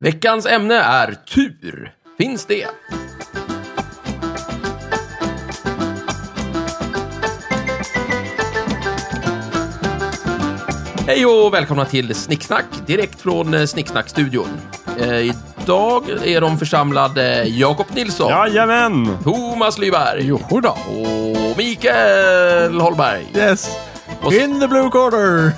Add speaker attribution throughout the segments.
Speaker 1: Veckans ämne är tur. Finns det? Hej och välkomna till Snicksnack, direkt från eh, Snicksnack-studion. Eh, idag är de församlade Jakob Nilsson,
Speaker 2: Jajamän!
Speaker 1: Thomas Lyberg
Speaker 3: Joho då.
Speaker 1: och Mikael Holmberg.
Speaker 3: Yes.
Speaker 1: Och så-
Speaker 3: In the blue corner.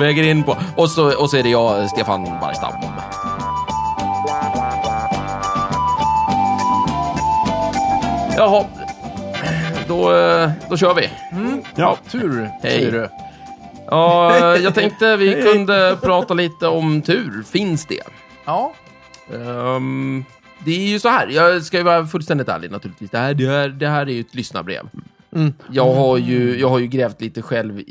Speaker 1: Väger in på... Och så, och så är det jag, Stefan Bergstam. Jaha, då, eh, då kör vi.
Speaker 2: Ja.
Speaker 3: Mm. Tur,
Speaker 1: Hej.
Speaker 3: säger du.
Speaker 1: Ja, jag tänkte vi kunde prata lite om tur. Finns det?
Speaker 3: Ja.
Speaker 1: Ehm, det är ju så här, jag ska ju vara fullständigt ärlig naturligtvis. Det här, det här, det här är ju ett lyssnarbrev.
Speaker 3: Mm.
Speaker 1: Jag, har ju, jag har ju grävt lite själv i,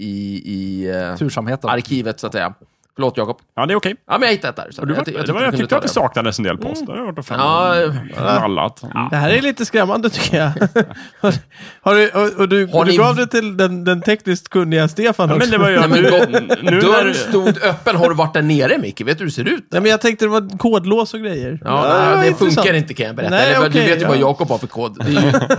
Speaker 1: i eh,
Speaker 3: Tursamheten.
Speaker 1: arkivet, så att säga. Förlåt, Jakob.
Speaker 2: Ja, det är okej.
Speaker 1: Ja, men jag hittade det där. Så
Speaker 2: Och Du
Speaker 1: jag
Speaker 2: var,
Speaker 1: ty-
Speaker 2: jag, det var,
Speaker 1: vi
Speaker 2: jag
Speaker 1: kunde
Speaker 2: tyckte
Speaker 1: ta
Speaker 2: att det saknades en del post. Det har varit fan
Speaker 1: Mm. Ja,
Speaker 2: nallat. Mm.
Speaker 3: Det här är lite skrämmande tycker jag. har, har du, och, och du,
Speaker 1: Har
Speaker 3: du
Speaker 1: ni-
Speaker 3: gav det till den, den tekniskt kunniga Stefan
Speaker 2: Ja, men
Speaker 3: också.
Speaker 2: det var ju...
Speaker 1: Nej, men
Speaker 2: nu-
Speaker 1: dörren-
Speaker 2: nu när-
Speaker 1: dörren stod öppen. Har du varit där nere, Micke? Vet du hur det ser ut?
Speaker 3: Nej, men jag tänkte det var kodlås och grejer.
Speaker 1: Ja,
Speaker 3: var
Speaker 1: nej, det
Speaker 3: intressant.
Speaker 1: funkar inte kan jag berätta.
Speaker 3: Nej,
Speaker 1: Eller, för du
Speaker 3: okej,
Speaker 1: vet ju
Speaker 3: ja.
Speaker 1: vad Jakob har för kod. Det är ju, det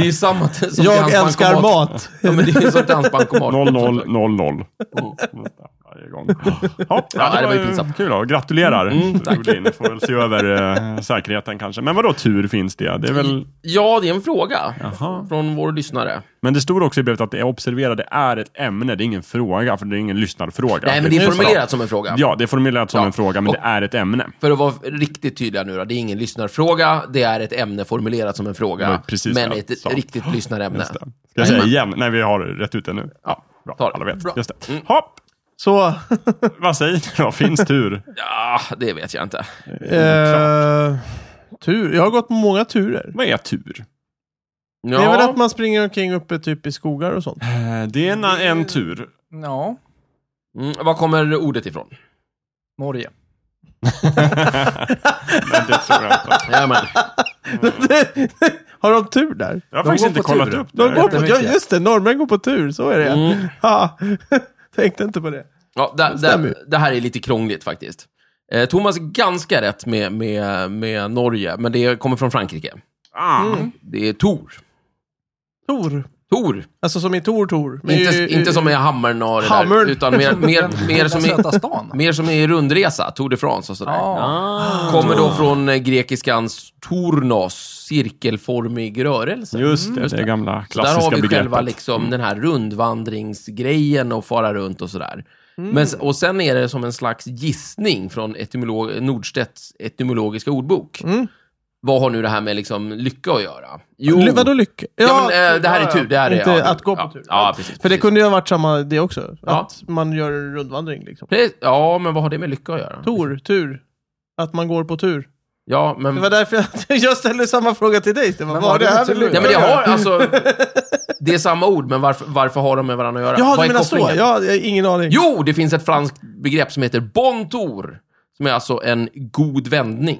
Speaker 1: är ju samma t- som till hans
Speaker 3: Jag älskar
Speaker 1: bankomat.
Speaker 3: mat.
Speaker 1: Ja, men det är ju som till hans bankomat.
Speaker 2: 0000. Varje gång. Ja, eh,
Speaker 1: det var ju pinsamt.
Speaker 2: Kul då. Gratulerar.
Speaker 1: Mm, tack.
Speaker 2: Du gjorde in. Får väl se över eh, säkerheten kanske. Men vadå tur finns det? Det är väl...
Speaker 1: Ja, det är en fråga
Speaker 2: Jaha.
Speaker 1: från vår lyssnare.
Speaker 2: Men det stod också i brevet att jag observerade det är ett ämne, det är ingen fråga, för det är ingen lyssnarfråga.
Speaker 1: Nej, men det är
Speaker 2: ett
Speaker 1: formulerat som en fråga.
Speaker 2: svar. Ja, det är formulerat som
Speaker 1: Ja.
Speaker 2: en fråga, men
Speaker 1: Och-
Speaker 2: det är ett ämne.
Speaker 1: För att vara riktigt tydliga nu då, det är ingen lyssnarfråga, det är ett ämne formulerat som en
Speaker 2: Det var
Speaker 1: fråga,
Speaker 2: precis
Speaker 1: men
Speaker 2: vad jag
Speaker 1: ett
Speaker 2: sa.
Speaker 1: riktigt lyssnarämne.
Speaker 2: Just det. Ska jag säga igen? Nej, vi har rätt ut det nu.
Speaker 1: Ja,
Speaker 2: Bra,
Speaker 1: ta det.
Speaker 2: alla vet.
Speaker 1: Bra. Mm.
Speaker 2: Just det. Hopp!
Speaker 3: Så, eh,
Speaker 2: Vad säger ni då? Finns tur?
Speaker 1: Ja, det vet jag inte.
Speaker 3: eh, tur. Jag har gått på många turer.
Speaker 2: Vad är tur?
Speaker 1: Ja.
Speaker 3: Det är väl att man springer omkring uppe typ i skogar och sånt.
Speaker 2: Eh, Det är en, en tur.
Speaker 4: Ja,
Speaker 1: mm, var kommer ordet ifrån?
Speaker 4: Norge.
Speaker 2: Men det tror jag inte.
Speaker 1: Jajamän.
Speaker 3: har de tur där?
Speaker 2: Jag har
Speaker 1: De
Speaker 2: faktiskt
Speaker 1: går
Speaker 2: inte
Speaker 1: på
Speaker 2: kollat
Speaker 1: tur.
Speaker 2: upp det.
Speaker 3: De går på, ja,
Speaker 1: jättemycket.
Speaker 3: just det, norrmän går på tur, så är det.
Speaker 1: Mm.
Speaker 3: Ha, tänkte inte på det.
Speaker 1: Ja, det,
Speaker 3: stämmer
Speaker 1: det, det här är lite krångligt faktiskt. Eh, Thomas är ganska rätt med, med, med Norge, men det kommer från Frankrike.
Speaker 2: Ah,
Speaker 1: Det är Tor.
Speaker 3: Tor.
Speaker 1: Tor.
Speaker 3: Alltså som i Tor, Tor. Men
Speaker 1: Inte,
Speaker 3: ju-
Speaker 1: inte som är hammaren och det
Speaker 3: Hammern.
Speaker 1: där, utan mer, mer, mer, som
Speaker 4: Söta
Speaker 1: är,
Speaker 4: stan.
Speaker 1: mer som är rundresa, Tour de France och sådär.
Speaker 4: Ja.
Speaker 2: Ah.
Speaker 1: Kommer då från eh, grekiskans tornos, cirkelformig rörelse.
Speaker 2: just det, det gamla
Speaker 1: Där har
Speaker 2: klassiska
Speaker 1: vi själva
Speaker 2: begreppet. Mm.
Speaker 1: liksom den här rundvandringsgrejen och fara runt och sådär.
Speaker 3: Mm.
Speaker 1: Men, s- och sen är det som en slags gissning från etymolog, Nordstedts etymologiska ordbok.
Speaker 3: Mm.
Speaker 1: Vad har nu det här med liksom lycka att göra? Jo,
Speaker 3: Ly- Vadå lycka?
Speaker 1: ja, men, eh, det här är tur. Det här är,
Speaker 3: Inte
Speaker 1: ja,
Speaker 3: att gå på
Speaker 1: ja,
Speaker 3: tur.
Speaker 1: Ja, precis.
Speaker 3: För det
Speaker 1: precis.
Speaker 3: kunde ju ha varit samma det också.
Speaker 1: Ja.
Speaker 3: Att man gör en rundvandring liksom.
Speaker 1: Precis. Ja, men vad har det med lycka att göra?
Speaker 3: Tor, tur. Att man går på tur.
Speaker 1: Ja, men...
Speaker 3: Det var därför jag, jag ställde samma fråga till dig, Stefan.
Speaker 4: Men
Speaker 3: Vad har
Speaker 4: var
Speaker 3: det
Speaker 4: det
Speaker 3: här Mm.
Speaker 4: tur?
Speaker 3: för lycka?
Speaker 1: Nej, men det har alltså... Det är samma ord, men varför, varför har de med varandra att göra?
Speaker 3: Ja,
Speaker 1: Vad
Speaker 3: du
Speaker 1: är
Speaker 3: menar så.
Speaker 1: kopplingen?
Speaker 3: Ja, jag har ingen aning.
Speaker 1: Jo, det finns ett franskt begrepp som heter bon tour, som är alltså en god vändning.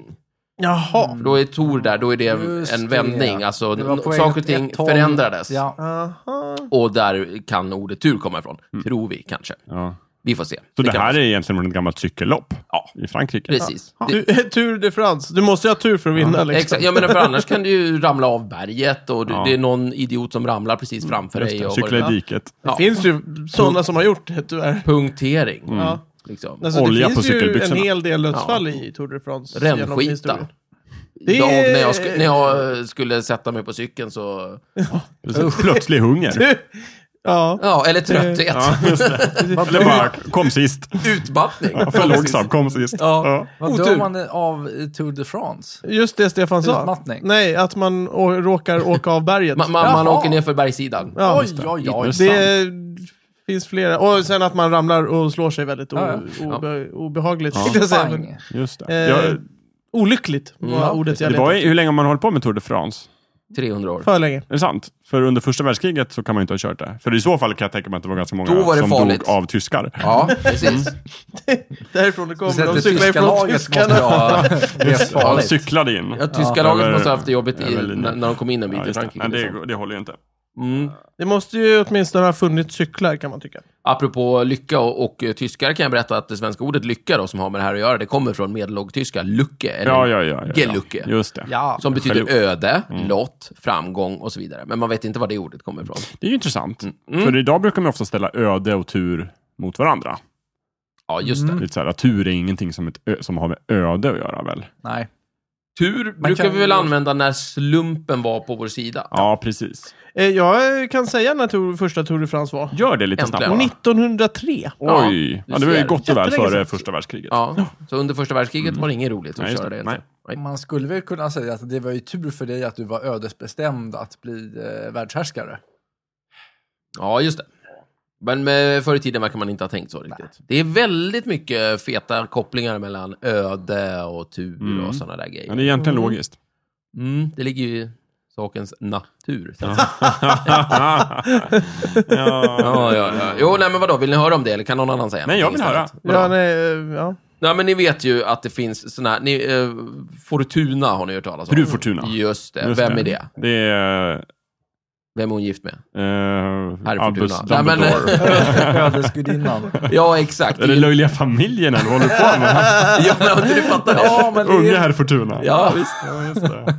Speaker 3: Jaha.
Speaker 1: För då är Tor där, då är det
Speaker 4: Just
Speaker 1: en vändning.
Speaker 4: det.
Speaker 1: Alltså,
Speaker 4: Det var på väg
Speaker 1: saker och
Speaker 4: åt
Speaker 1: ting
Speaker 4: ett håll.
Speaker 1: förändrades.
Speaker 4: Ja.
Speaker 3: Aha.
Speaker 1: Och där kan ordet tur komma ifrån. Tror vi kanske.
Speaker 2: Ja.
Speaker 1: Vi får se.
Speaker 2: Mm. Så det
Speaker 1: kan
Speaker 2: här
Speaker 1: vara
Speaker 2: är egentligen från ett gammalt cykellopp
Speaker 1: Ja.
Speaker 2: i Frankrike.
Speaker 1: Precis. Det,
Speaker 3: Du, tur de France. Du måste ju ha tur för att vinna liksom.
Speaker 1: exakt. Jag menar, för annars kan du ju ramla av berget och du,
Speaker 2: Ja.
Speaker 1: det är någon idiot som ramlar precis framför dig. Och vad det-
Speaker 2: Cykla i diket.
Speaker 1: Ja. Mm.
Speaker 3: Det finns ju sådana som har gjort det tyvärr.
Speaker 1: Punktering.
Speaker 3: Ja.
Speaker 1: Liksom.
Speaker 3: Alltså,
Speaker 2: Olja
Speaker 3: det
Speaker 2: på
Speaker 3: finns ju en
Speaker 2: cykelbyxorna.
Speaker 3: hel del dödsfall i Tour de France. genom
Speaker 1: Rännskita.
Speaker 3: historien. Det
Speaker 1: Idag
Speaker 3: är-
Speaker 1: när jag, sk- när jag skulle sätta mig på cykeln så...
Speaker 2: Precis. Plötslig hunger.
Speaker 3: Ja.
Speaker 1: Ja, eller trötthet.
Speaker 2: Ja, just det. Eller bara, kom sist.
Speaker 1: Utmattning.
Speaker 2: För långsam, kom sist.
Speaker 1: Ja.
Speaker 4: Vad
Speaker 1: Otur.
Speaker 4: dör man av Tour de France?
Speaker 3: Just det Stefan sa.
Speaker 4: Utmattning.
Speaker 3: Nej, att man å- råkar åka av berget.
Speaker 1: Man, man, man
Speaker 4: Jaha.
Speaker 1: åker ner för bergssidan.
Speaker 3: Ja,
Speaker 4: oj,
Speaker 3: just
Speaker 4: oj, oj,
Speaker 2: Just
Speaker 3: det finns flera. Och sen att man ramlar och slår sig väldigt o-
Speaker 4: Ja,
Speaker 3: obe- obehagligt. tänkte jag säga.
Speaker 4: Pang.
Speaker 2: Just det.
Speaker 3: Eh,
Speaker 2: Jag,
Speaker 3: Olyckligt var
Speaker 1: Ja,
Speaker 3: ordet jag
Speaker 2: det
Speaker 3: letade
Speaker 2: var, ju- hur länge har man hållit på med Tour de France?
Speaker 1: 300 år.
Speaker 3: För länge.
Speaker 2: Är det sant? För under första världskriget så kan man ju inte ha kört det. För i så fall kan jag tänka mig att det var ganska många
Speaker 1: Då var det
Speaker 2: som
Speaker 1: farligt.
Speaker 2: dog av tyskar.
Speaker 1: Ja, precis.
Speaker 3: Därifrån det
Speaker 4: Så
Speaker 3: kommer.
Speaker 4: att
Speaker 3: De
Speaker 4: det
Speaker 3: cyklar
Speaker 4: tyska
Speaker 3: ifrån
Speaker 4: laget måste
Speaker 3: tyskarna.
Speaker 4: ha... Det är
Speaker 2: Ja, de
Speaker 4: farligt.
Speaker 2: cyklade in.
Speaker 1: Ja, tyska
Speaker 2: Ja,
Speaker 1: laget
Speaker 2: över-
Speaker 1: måste ha haft det jobbigt i,
Speaker 2: över linjen.
Speaker 1: när, när de kom in en bit
Speaker 2: Ja,
Speaker 1: i
Speaker 2: just det.
Speaker 1: Frankrike.
Speaker 2: Nej, det,
Speaker 1: liksom.
Speaker 2: det håller ju inte.
Speaker 1: Mm.
Speaker 3: Det måste ju åtminstone ha funnits cyklar kan man tycka.
Speaker 1: Apropå lycka och, och eh, tyskar kan jag berätta att det svenska ordet lycka då, som har med det här att göra, det kommer från medellågtyska, lucke, eller
Speaker 2: Ja, ja, ja. ja,
Speaker 1: Gelucke.
Speaker 2: ja. Mm. Just det.
Speaker 4: Ja.
Speaker 1: som betyder
Speaker 2: själv-
Speaker 1: öde, lott, framgång och så vidare. Men man vet inte var det ordet kommer ifrån.
Speaker 2: Det är ju intressant.
Speaker 1: Mm.
Speaker 2: För idag brukar man ofta ställa öde och tur mot varandra.
Speaker 1: Mm. Ja, just det.
Speaker 2: Lite så här, tur är ingenting som, ett ö- som har med öde att göra väl?
Speaker 4: Nej.
Speaker 1: Tur brukar
Speaker 4: kan
Speaker 1: vi väl
Speaker 4: ju-
Speaker 1: använda när slumpen var på vår sida.
Speaker 2: Ja, precis.
Speaker 3: Eh, Jag eh, kan säga när Tour, första Tour de France var.
Speaker 2: Gör det lite
Speaker 1: Äntligen.
Speaker 2: snabbt bara.
Speaker 3: 1903.
Speaker 1: Ja,
Speaker 2: Oj!
Speaker 1: du
Speaker 2: Ja, det var ju
Speaker 1: ser.
Speaker 2: gott och väl
Speaker 3: Jättelänge
Speaker 2: före
Speaker 3: sedan.
Speaker 2: första världskriget.
Speaker 1: Ja, så under första världskriget var det inget roligt att
Speaker 2: Mm. Nej, just
Speaker 1: köra
Speaker 2: det.
Speaker 1: det. alltså.
Speaker 2: Nej.
Speaker 1: Nej.
Speaker 4: Man skulle väl kunna säga att det var ju tur för dig att du var ödesbestämd att bli eh, världshärskare.
Speaker 1: Ja, just det. Men med, förr i tiden verkar man inte ha tänkt så riktigt. Det är väldigt mycket feta kopplingar mellan öde och tur
Speaker 2: Mm.
Speaker 1: och sådana där grejer.
Speaker 2: Men det är egentligen logiskt.
Speaker 1: Mm, det ligger ju i sakens natur. Så.
Speaker 2: ja.
Speaker 1: Ja, ja, ja. Jo, nej, men vadå, vill ni höra om det eller kan någon annan säga
Speaker 2: Nej, jag vill
Speaker 1: någonting
Speaker 2: höra.
Speaker 1: istället? Vadå?
Speaker 3: Ja, nej, eh, ja.
Speaker 1: Nej, men ni vet ju att det finns såna här... Ni, eh, Fortuna har ni hört talas om.
Speaker 2: Fru Fortuna.
Speaker 1: Just det.
Speaker 2: Just
Speaker 1: Vem är det?
Speaker 2: Det är...
Speaker 1: Vem är hon gift med?
Speaker 2: eh,
Speaker 1: Herr
Speaker 2: Albus
Speaker 1: Fortuna. Nej, men-
Speaker 2: Dumbledore.
Speaker 4: Ödesgudinnan.
Speaker 1: Ja, exakt.
Speaker 2: är det löjliga familjen eller vad håller du på med?
Speaker 1: ja, men har inte du fattat det?
Speaker 4: Ja, men det
Speaker 2: Unge
Speaker 4: är...
Speaker 2: herr Fortuna.
Speaker 1: Ja, visst.
Speaker 2: Ja, just det.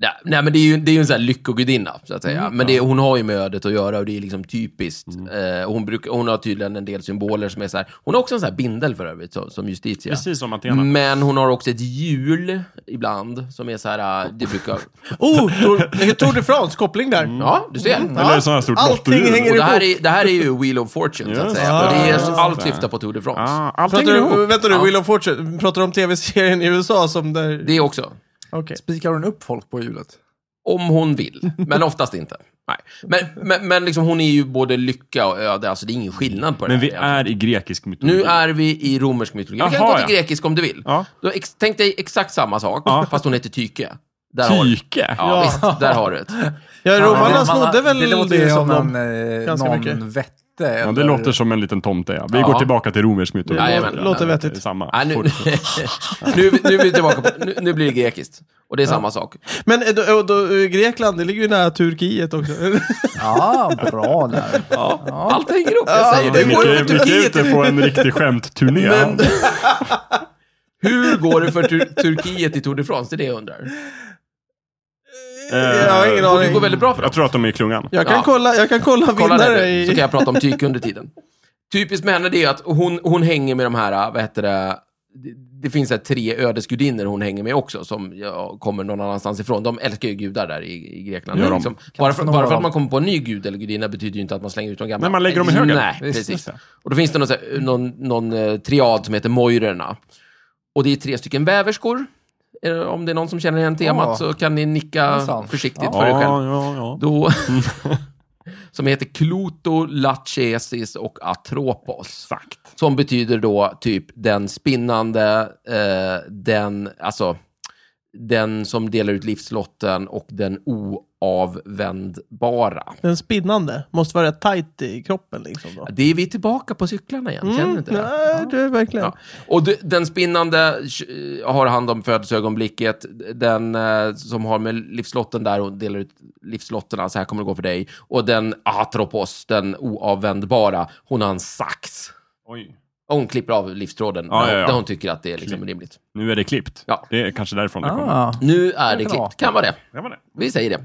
Speaker 1: Nej, nej, men det är ju, det är ju en sån här lyckogudinna, så att säga.
Speaker 2: Mm.
Speaker 1: men det, hon har ju med ödet att göra och det är liksom typiskt. Eh, och hon, brukar, hon har tydligen en del symboler som är så här. Hon har också en sån här bindel för övrigt, så, som Justitia.
Speaker 2: Precis som Athena.
Speaker 1: Men hon har också ett hjul ibland, som är så här, eh, det brukar...
Speaker 3: Oh, Tour, Tour de France, koppling där.
Speaker 1: Ja, du ser.
Speaker 2: Eller sådana här stort
Speaker 3: Allting
Speaker 2: lotteri.
Speaker 3: hänger
Speaker 1: Och
Speaker 3: ihop.
Speaker 1: det här, är, det här är ju Wheel of Fortune, så att
Speaker 2: Just
Speaker 1: säga. Och det är,
Speaker 2: det.
Speaker 1: allt syftar på Tour de France.
Speaker 2: Ah, allt
Speaker 3: Pratar
Speaker 2: hänger
Speaker 3: du,
Speaker 2: ihop.
Speaker 3: vänta nu, Wheel of Fortune. Pratar du om tv-serien i USA som där...
Speaker 1: Det är också.
Speaker 3: Okej.
Speaker 4: Spikar hon upp folk på hjulet?
Speaker 1: Om hon vill, men oftast inte. Nej. Men, men, men liksom, hon är ju både lycka och öde, alltså det är ingen skillnad på det
Speaker 2: Men
Speaker 1: här
Speaker 2: vi
Speaker 1: egentligen.
Speaker 2: är i grekisk mytologi.
Speaker 1: Nu är vi i romersk mytologi. Vi kan
Speaker 2: Jaha,
Speaker 1: gå till
Speaker 2: ja.
Speaker 1: grekisk om du vill.
Speaker 2: Ja.
Speaker 1: Då ex- tänk dig exakt samma sak,
Speaker 2: Ja.
Speaker 1: fast hon heter Tyke. Där har du.
Speaker 2: Tyke?
Speaker 1: Ja, visst, där har du det.
Speaker 3: Ja, romarna
Speaker 4: Men man-
Speaker 3: snodde väl
Speaker 4: Det
Speaker 3: det,
Speaker 4: låter ju
Speaker 3: av
Speaker 4: som
Speaker 3: dem.
Speaker 4: en, eh,
Speaker 3: Ganska
Speaker 4: någon
Speaker 3: mycket.
Speaker 4: vette.
Speaker 2: Ja, det
Speaker 4: eller-
Speaker 2: låter som en liten tomte, ja. Vi
Speaker 1: Ja.
Speaker 2: går tillbaka till romersk mytologi.
Speaker 1: Jajamän.
Speaker 2: Det
Speaker 3: Låter
Speaker 2: är
Speaker 3: vettigt.
Speaker 2: Samma.
Speaker 1: Nej, nu,
Speaker 2: Fort-
Speaker 1: nu, är vi- nu är vi tillbaka på, nu, nu blir det grekiskt. Och det är samma sak.
Speaker 3: Men eh, då, och då, eh, Grekland, det ligger ju nära Turkiet också.
Speaker 4: Ja, bra där.
Speaker 1: Allt hänger ihop, jag säger det. Hur går det för
Speaker 2: Micke, Micke är
Speaker 1: Turkiet?
Speaker 2: ute på en riktig skämtturné.
Speaker 1: Men, hur går det för tur Turkiet i Tour de France? Det är det jag undrar.
Speaker 2: Eh,
Speaker 3: jag har ingen
Speaker 1: Det går
Speaker 3: aning.
Speaker 1: väldigt bra för dem.
Speaker 2: Jag tror att de är i klungan.
Speaker 3: Jag kan
Speaker 1: Ja.
Speaker 3: kolla, jag kan kolla
Speaker 1: Kolla
Speaker 3: vinnare
Speaker 1: det nu, så kan
Speaker 3: i...
Speaker 1: jag prata om Tyke under tiden. Typiskt med henne det är att hon, hon hänger med de här, vad heter det, det- det finns här tre ödesgudinnor hon hänger med också, som jag kommer någon annanstans ifrån. De älskar ju gudar där i, i Grekland.
Speaker 2: Gör
Speaker 1: Det är
Speaker 2: de?
Speaker 1: Liksom, bara, för,
Speaker 4: få några
Speaker 1: bara för att
Speaker 4: av
Speaker 1: man kommer på en ny gud eller gudinna betyder ju inte att man slänger ut de gamla.
Speaker 2: Nej, man lägger dem i högen.
Speaker 1: Nej,
Speaker 4: Visst,
Speaker 1: precis.
Speaker 4: just
Speaker 1: Och då finns det någon, så här, någon, någon eh, triad som heter Moirerna. Och det är tre stycken väverskor. Eh, Om det är någon som känner igen temat
Speaker 4: Ja.
Speaker 1: så kan ni nicka
Speaker 4: Minsann.
Speaker 1: försiktigt
Speaker 4: Ja.
Speaker 1: för er själva.
Speaker 2: ja, ja.
Speaker 1: Då, som heter Kloto, Lachesis och Atropos.
Speaker 2: Exakt.
Speaker 1: Som betyder då typ den spinnande, eh, den, alltså, den som delar ut livslotten och den oavvändbara.
Speaker 3: Den spinnande måste vara rätt tajt i kroppen liksom då.
Speaker 1: Det är vi tillbaka på cyklarna igen, känner du inte det?
Speaker 3: Nej, du är verkligen...
Speaker 1: Ja. Och d- den spinnande eh, har hand om födelseögonblicket. Den eh, som har med livslotten där och delar ut livslotterna, så här kommer det gå för dig. Och den atropos, den oavvändbara, hon har en sax.
Speaker 2: Oj.
Speaker 1: Och hon klipper av livstråden när,
Speaker 2: Ja,
Speaker 1: hon,
Speaker 2: ja, ja.
Speaker 1: när hon tycker att det är liksom rimligt.
Speaker 2: Nu är det klippt.
Speaker 1: Ja.
Speaker 2: Det är kanske därifrån det kommer.
Speaker 4: Ah.
Speaker 1: Nu är det
Speaker 4: kan vara.
Speaker 1: klippt, kan vara det.
Speaker 2: Det var det.
Speaker 1: Vi säger det.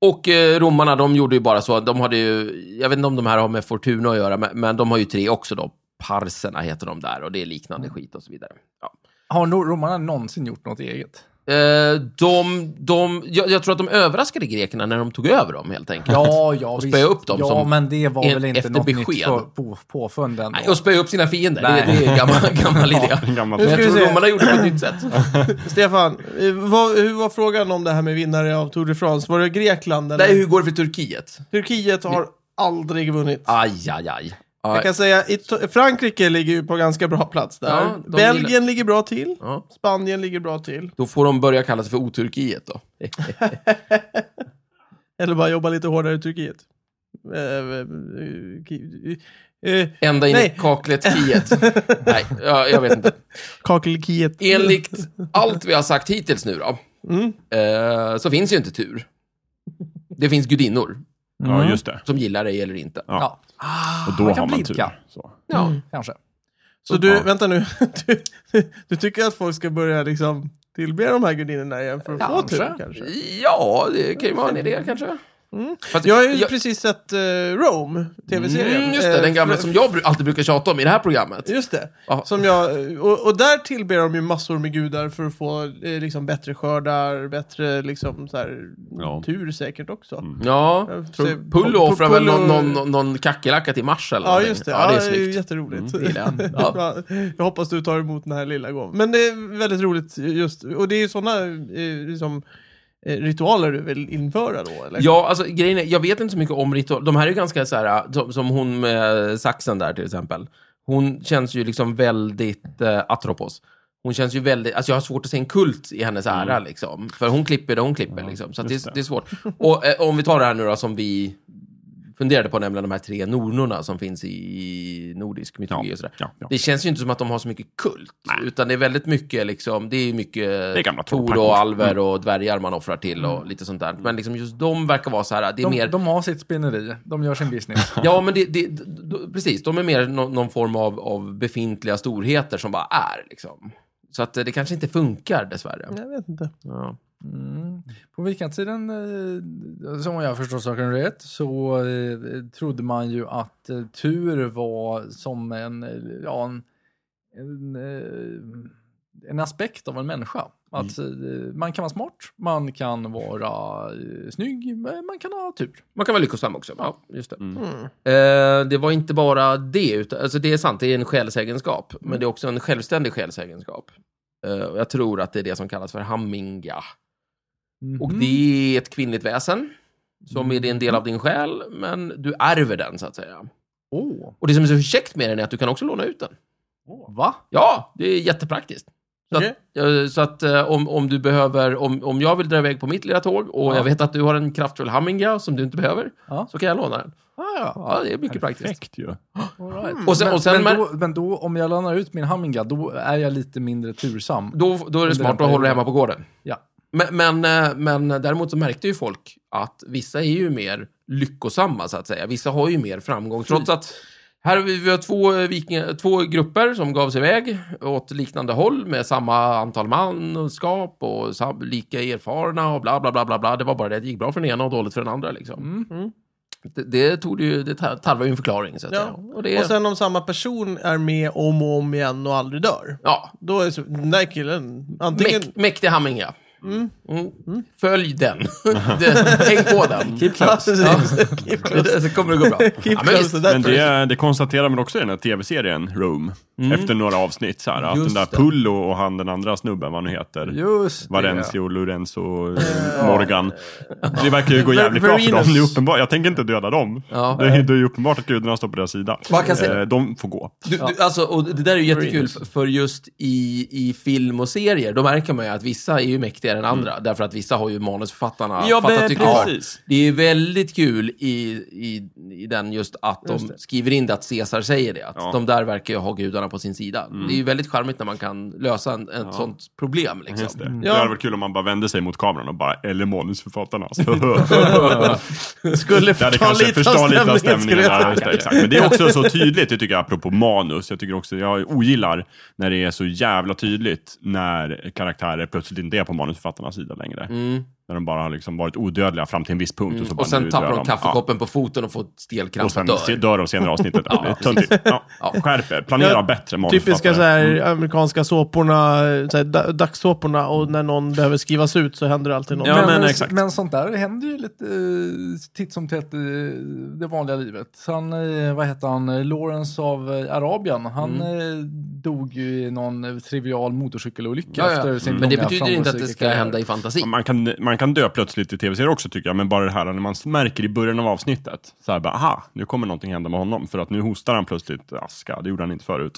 Speaker 1: Och eh, romarna, de gjorde ju bara så. De hade ju, jag vet inte om de här har med Fortuna att göra, men, men de har ju tre också då. Parserna heter de där och det är liknande
Speaker 2: Mm.
Speaker 1: skit och så vidare. Ja.
Speaker 4: Har no- romarna någonsin gjort något eget?
Speaker 1: Eh, de, de, jag, jag tror att de överraskade grekerna när de tog över dem helt enkelt.
Speaker 4: Ja, ja,
Speaker 1: Och spöa upp dem
Speaker 4: Ja,
Speaker 1: som
Speaker 4: men det var
Speaker 1: en-
Speaker 4: väl inte
Speaker 1: efter
Speaker 4: något nytt
Speaker 1: besked.
Speaker 4: på, på, påfund ändå.
Speaker 1: Nej, och spöa upp sina fiender.
Speaker 4: Nej.
Speaker 1: Det, det är en gammal, gammal idé.
Speaker 2: Den gamla
Speaker 1: Men jag
Speaker 3: vi
Speaker 1: tror
Speaker 3: se.
Speaker 1: romarna gjorde det på ett nytt sätt.
Speaker 3: Stefan, eh, vad, hur var frågan om det här med vinnare av Tour de France? Var det Grekland eller?
Speaker 1: Nej, hur går det för Turkiet?
Speaker 3: Turkiet har aldrig vunnit.
Speaker 1: Aj, aj, aj. Ja,
Speaker 3: Jag kan säga, It- Frankrike ligger ju på ganska bra plats där.
Speaker 1: Ja, de
Speaker 3: Belgien
Speaker 1: gillar-
Speaker 3: ligger bra till.
Speaker 1: ja.
Speaker 3: Spanien ligger bra till.
Speaker 1: Då får de börja kalla sig för Oturkiet då.
Speaker 3: Eller bara jobba lite hårdare i Turkiet. Eh, eh, ki- eh, eh,
Speaker 1: Ända in
Speaker 3: Nej.
Speaker 1: i kaklet Kiet. Nej, ja, jag vet inte.
Speaker 3: Kakelkiet.
Speaker 1: Enligt allt vi har sagt
Speaker 3: Mm.
Speaker 1: hittills nu då, eh, så finns ju inte tur. Det finns gudinnor.
Speaker 2: Ja, just det.
Speaker 1: som gillar dig eller inte.
Speaker 2: Ja.
Speaker 4: Mm. Ja,
Speaker 2: Och då
Speaker 4: man kan
Speaker 2: har man
Speaker 4: blinka.
Speaker 2: tur. Så.
Speaker 1: Ja.
Speaker 4: kanske.
Speaker 3: Så du,
Speaker 2: Ja.
Speaker 3: vänta nu. Du, du tycker att folk ska börja liksom tillbe de här gudinnorna igen för att få
Speaker 4: Kanske.
Speaker 3: tur kanske? Mm.
Speaker 1: Ja, det kan ju vara en idé kanske. Fast
Speaker 3: Jag har ju
Speaker 1: jag-
Speaker 3: precis sett eh, Rome, tv-serien.
Speaker 1: Mm, just det,
Speaker 3: Eh,
Speaker 1: den gamla
Speaker 3: för-
Speaker 1: som jag bru- alltid brukar tjata om i det här programmet.
Speaker 3: Just det.
Speaker 1: Ja.
Speaker 3: Som jag, och, och där tillber de ju massor med gudar för att få eh, liksom, bättre skördar, bättre liksom, så här,
Speaker 2: Ja.
Speaker 3: tur säkert också.
Speaker 1: Mm. Ja,
Speaker 3: Jag
Speaker 1: tror
Speaker 3: ser-
Speaker 1: Pullo
Speaker 3: Pu-
Speaker 1: offrar väl någon,
Speaker 3: Pullo-
Speaker 1: någon, någon, någon kackerlacka till Mars eller
Speaker 3: Ja,
Speaker 1: någonting.
Speaker 3: just det.
Speaker 1: Ja, det är
Speaker 3: ju
Speaker 1: snyggt. Mm,
Speaker 3: jätteroligt.
Speaker 1: gillar den. Ja.
Speaker 3: jag hoppas du tar emot den här lilla gåvan. Men det är väldigt roligt just, och det är ju sådana eh, liksom, eh, ritualer du vill införa då, eller?
Speaker 1: Ja, alltså grejen är, jag vet inte så mycket om ritual. De här är ju ganska så här, äh, som, som hon med saxen där till exempel. Hon känns ju liksom väldigt eh, atropos. Hon känns ju väldigt, alltså jag har svårt att se en kult i hennes ära liksom. För hon klipper det hon klipper liksom. Så att det,
Speaker 2: Mm. just
Speaker 1: är-
Speaker 2: det.
Speaker 1: det är svårt. Och eh, om vi tar det här nu då som vi funderade på, nämligen de här tre nornorna som finns i nordisk mytologi
Speaker 2: Ja,
Speaker 1: och sådär.
Speaker 2: ja, ja.
Speaker 1: Det känns ju inte som att de har så mycket kult, utan det är väldigt mycket liksom, det är ju mycket
Speaker 2: är gamla
Speaker 1: Tor
Speaker 2: torpackor.
Speaker 1: och alver och dvärgar man offrar till och lite sånt där. Men liksom just de verkar vara så här, det är
Speaker 4: De,
Speaker 1: mer...
Speaker 4: de har sitt spinneri, de gör sin business.
Speaker 1: Ja, men det, det, d- d- precis. De är mer nå- någon form av, av befintliga storheter som bara är. Liksom. Så att eh, det kanske inte funkar dessvärre.
Speaker 3: Jag vet inte.
Speaker 1: Ja.
Speaker 4: Mm. På vikingatiden, eh, som jag förstår saken rätt, så eh, trodde man ju att eh, tur var som en, eh, ja, en, en, eh, en aspekt av en människa. Att
Speaker 1: Mm.
Speaker 4: eh, man kan vara smart, man kan vara eh, snygg, men man kan ha tur.
Speaker 1: Man kan vara lyckosam också. Ja, just det.
Speaker 3: Mm.
Speaker 1: Eh, det var inte bara det, utan, alltså det är sant, det är en själsegenskap. Men det är också en självständig själsegenskap. Eh, och jag tror att det är det som kallas för hamminga.
Speaker 4: Mhm.
Speaker 1: Och det är ett kvinnligt väsen. Som
Speaker 4: Mm.
Speaker 1: är en del av din själ, men du ärver den så att säga.
Speaker 4: Åh,
Speaker 1: Och det som är så käckt med den är att du kan också låna ut den.
Speaker 4: va?
Speaker 1: Ja, det är jättepraktiskt. Så
Speaker 3: Okej.
Speaker 1: att, eh, så att eh, om, om du behöver, om, om jag vill dra iväg på mitt lilla tåg och
Speaker 4: Ja.
Speaker 1: jag vet att du har en kraftfull Hamminga som du inte behöver,
Speaker 4: Ja.
Speaker 1: så kan jag låna den. Ja, det är mycket praktiskt.
Speaker 2: Perfekt ju.
Speaker 4: All right.
Speaker 1: Och sen-
Speaker 4: Hmm. men,
Speaker 1: och sen
Speaker 4: men,
Speaker 1: mär-
Speaker 4: då, men då, om jag lånar ut min Hamminga, då är jag lite mindre tursam.
Speaker 1: Då, då är det
Speaker 4: den
Speaker 1: smart att
Speaker 4: perioden.
Speaker 1: hålla det hemma på gården.
Speaker 4: Ja.
Speaker 1: Men, men, eh, men däremot så märkte ju folk att vissa är ju mer lyckosamma, så att säga. Vissa har ju mer framgång, trots att här har vi, vi har två, eh, vikingar- två grupper som gav sig iväg åt liknande håll med samma antal manskap och sam, lika erfarna och bla, bla, bla, bla, bla. Det var bara det att det gick bra för den ena och dåligt för den andra. Liksom.
Speaker 4: Mm.
Speaker 3: Mm.
Speaker 1: Det, det, tog det ju, det tar- tarvar ju en förklaring, så att
Speaker 3: Ja.
Speaker 1: säga. Och det,
Speaker 3: Och sen om samma person är med om och om igen och aldrig dör.
Speaker 1: ja,
Speaker 3: Då är det så, den där killen, antingen...
Speaker 1: mäk, mäktig Hamminga. Mm. Följ den. Det- Häng på den.
Speaker 4: Keep close.
Speaker 3: Keep
Speaker 1: Det-
Speaker 3: close.
Speaker 1: det- Så kommer det gå bra.
Speaker 3: Keep
Speaker 1: Ja, men
Speaker 3: close
Speaker 1: visst.
Speaker 3: to that
Speaker 2: Men
Speaker 3: person.
Speaker 2: det, det konstaterar man också i den här tv-serien Rome. Efter några avsnitt så här, att
Speaker 1: Just
Speaker 2: den där
Speaker 1: det.
Speaker 2: Pullo och han den andra snubben, vad han nu heter.
Speaker 4: Just det.
Speaker 2: Varencio, Lorenzo, eh, Morgan. Det verkar ju gå jävligt bra för dem.
Speaker 3: Varinus.
Speaker 2: Det är uppenbart. Jag tänker inte döda dem.
Speaker 1: Ja.
Speaker 2: Det är det är ju uppenbart att gudarna står på deras sida.
Speaker 1: Vad kan jag säga?
Speaker 2: Eh, De får gå.
Speaker 1: Du, du, alltså, och det där är ju jättekul, f- för just i, i film och serier, då märker man ju att vissa är ju mäktigare än andra, därför att vissa har ju manusförfattarna
Speaker 2: Ja, men
Speaker 1: fattat tycker
Speaker 2: precis.
Speaker 1: Det är ju väldigt kul i, i, i den just att de skriver in det att Caesar säger det, att
Speaker 2: Ja. Mm.
Speaker 1: de där verkar ju ha gudarna på sin sida. Det är ju väldigt charmigt när man kan lösa en, ett sånt problem. Liksom.
Speaker 2: Just det.
Speaker 3: Ja.
Speaker 2: det hade varit kul om man bara vände sig mot kameran och bara, eller manusförfattarna. alltså." Så.
Speaker 3: Skulle
Speaker 2: Det hade
Speaker 3: förta
Speaker 2: kanske
Speaker 3: lite
Speaker 2: förstå lite av stämningen.
Speaker 3: skulle jag
Speaker 2: Där,
Speaker 3: säga.
Speaker 2: just det, exakt. Men det är också så tydligt, det tycker jag, apropå manus. Jag tycker också, jag ogillar när det är så jävla tydligt när karaktärer plötsligt inte är på manusförfattarnas sida längre.
Speaker 1: Mm.
Speaker 2: När de bara har liksom varit odödliga fram till en viss punkt. Och, så bara,
Speaker 1: Och sen
Speaker 2: nu
Speaker 1: tappar
Speaker 2: dör
Speaker 1: de
Speaker 2: Ja.
Speaker 1: kaffekoppen på foten och får stelkramp
Speaker 2: Och sen
Speaker 1: dör.
Speaker 2: se- dör de senare i avsnittet. Det blir Töntigt. Ja.
Speaker 1: Ja.
Speaker 2: Skärp er, planera
Speaker 3: Ja,
Speaker 2: bättre
Speaker 3: Typiska
Speaker 2: manusförfattare.
Speaker 3: så här,
Speaker 2: Mm.
Speaker 3: amerikanska såporna, så här, da- dagssåporna och när någon behöver skrivas ut så händer det alltid något.
Speaker 2: Ja,
Speaker 4: men,
Speaker 2: men exakt.
Speaker 4: men sånt där händer ju lite eh, titt som tätt i det vanliga livet. Han, eh, vad heter han, Eh, Lawrence av eh, Arabien, han
Speaker 1: Mm.
Speaker 4: eh, dog ju i någon eh, trivial motorcykelolycka
Speaker 1: Ja, ja.
Speaker 2: Mm.
Speaker 4: efter sin
Speaker 1: Men det
Speaker 4: långa
Speaker 1: betyder inte att det ska
Speaker 4: framgångsrika
Speaker 1: hända i fantasi.
Speaker 2: Man kan, man kan dö plötsligt i tv-serier också tycker jag, men bara det här när man märker i början av avsnittet, så här bara, aha, nu kommer någonting hända med honom, för att nu hostar han plötsligt aska, det gjorde han inte förut.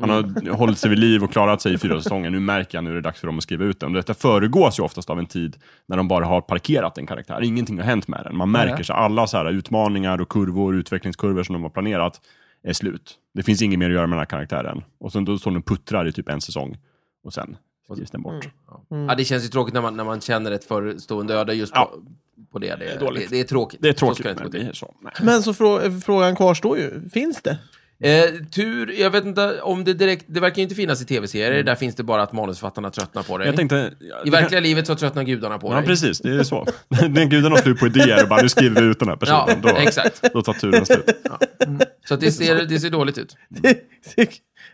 Speaker 2: Han har hållit sig vid liv och klarat sig i fyra säsonger, nu märker jag, nu är det dags för dem att skriva ut den. Och Detta föregås ju oftast av en tid när de bara har parkerat en karaktär, ingenting har hänt med den. Man märker
Speaker 4: Nej.
Speaker 2: sig alla så här utmaningar och kurvor, utvecklingskurvor som de har planerat, är slut. Det finns inget mer att göra med den här karaktären. Och sen då står den och puttrar i typ en säsong, och sen skrivs den bort.
Speaker 1: Mm. Ja, det känns ju tråkigt när man, när man känner ett förestående öde just på, på det. Det är,
Speaker 2: dåligt.
Speaker 1: Det, det är tråkigt.
Speaker 2: Det är
Speaker 1: Så
Speaker 2: tråkigt,
Speaker 1: ska det inte gå
Speaker 2: men det
Speaker 1: till.
Speaker 2: är så. Nej.
Speaker 3: Men så frå- frågan kvarstår ju. Finns det?
Speaker 1: Eh, tur, jag vet inte om det direkt, det verkar ju inte finnas i tv-serier, där finns det bara att manusfattarna tröttnar på dig.
Speaker 2: Jag tänkte... ja,
Speaker 1: I
Speaker 2: det
Speaker 1: verkliga livet så tröttnar gudarna på
Speaker 2: Ja,
Speaker 1: dig.
Speaker 2: precis. Det är så. När gudarna har slut på idéer och bara, nu skriver vi ut den här
Speaker 1: Ja,
Speaker 2: personen. då,
Speaker 1: exakt.
Speaker 2: då tar turen slut.
Speaker 1: Så att det, ser, det ser dåligt ut.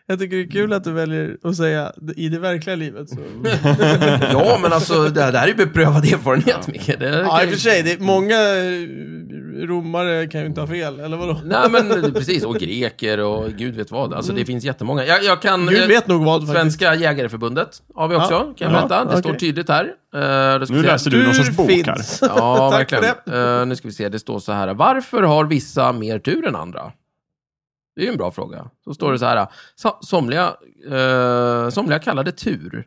Speaker 3: Jag tycker det är kul att du väljer att säga i det verkliga livet. Så.
Speaker 1: Ja, men alltså det här det här är ju beprövad erfarenhet, Micke. Det kan
Speaker 3: Ja, i och
Speaker 1: ju-
Speaker 3: för sig. Det är många eh, romare kan ju inte ha fel, eller vadå?
Speaker 1: Nej, men precis. Och greker och gud vet vad. Alltså det finns jättemånga. Jag, jag kan... eh,
Speaker 3: Gud vet nog vad faktiskt.
Speaker 1: Svenska Jägareförbundet har vi också,
Speaker 3: Ja.
Speaker 1: kan jag
Speaker 3: Ja,
Speaker 1: berätta. Det
Speaker 3: okej.
Speaker 1: står tydligt här. Eh, då ska vi
Speaker 2: Nu
Speaker 1: se.
Speaker 2: läser du någon sorts bok här.
Speaker 1: Ja,
Speaker 3: Tack för
Speaker 1: verkligen. Eh, nu ska vi se, det står så här. Varför har vissa mer tur än andra? Det är ju en bra fråga. Så står det så här. "So- Somliga, eh, somliga kallar det tur.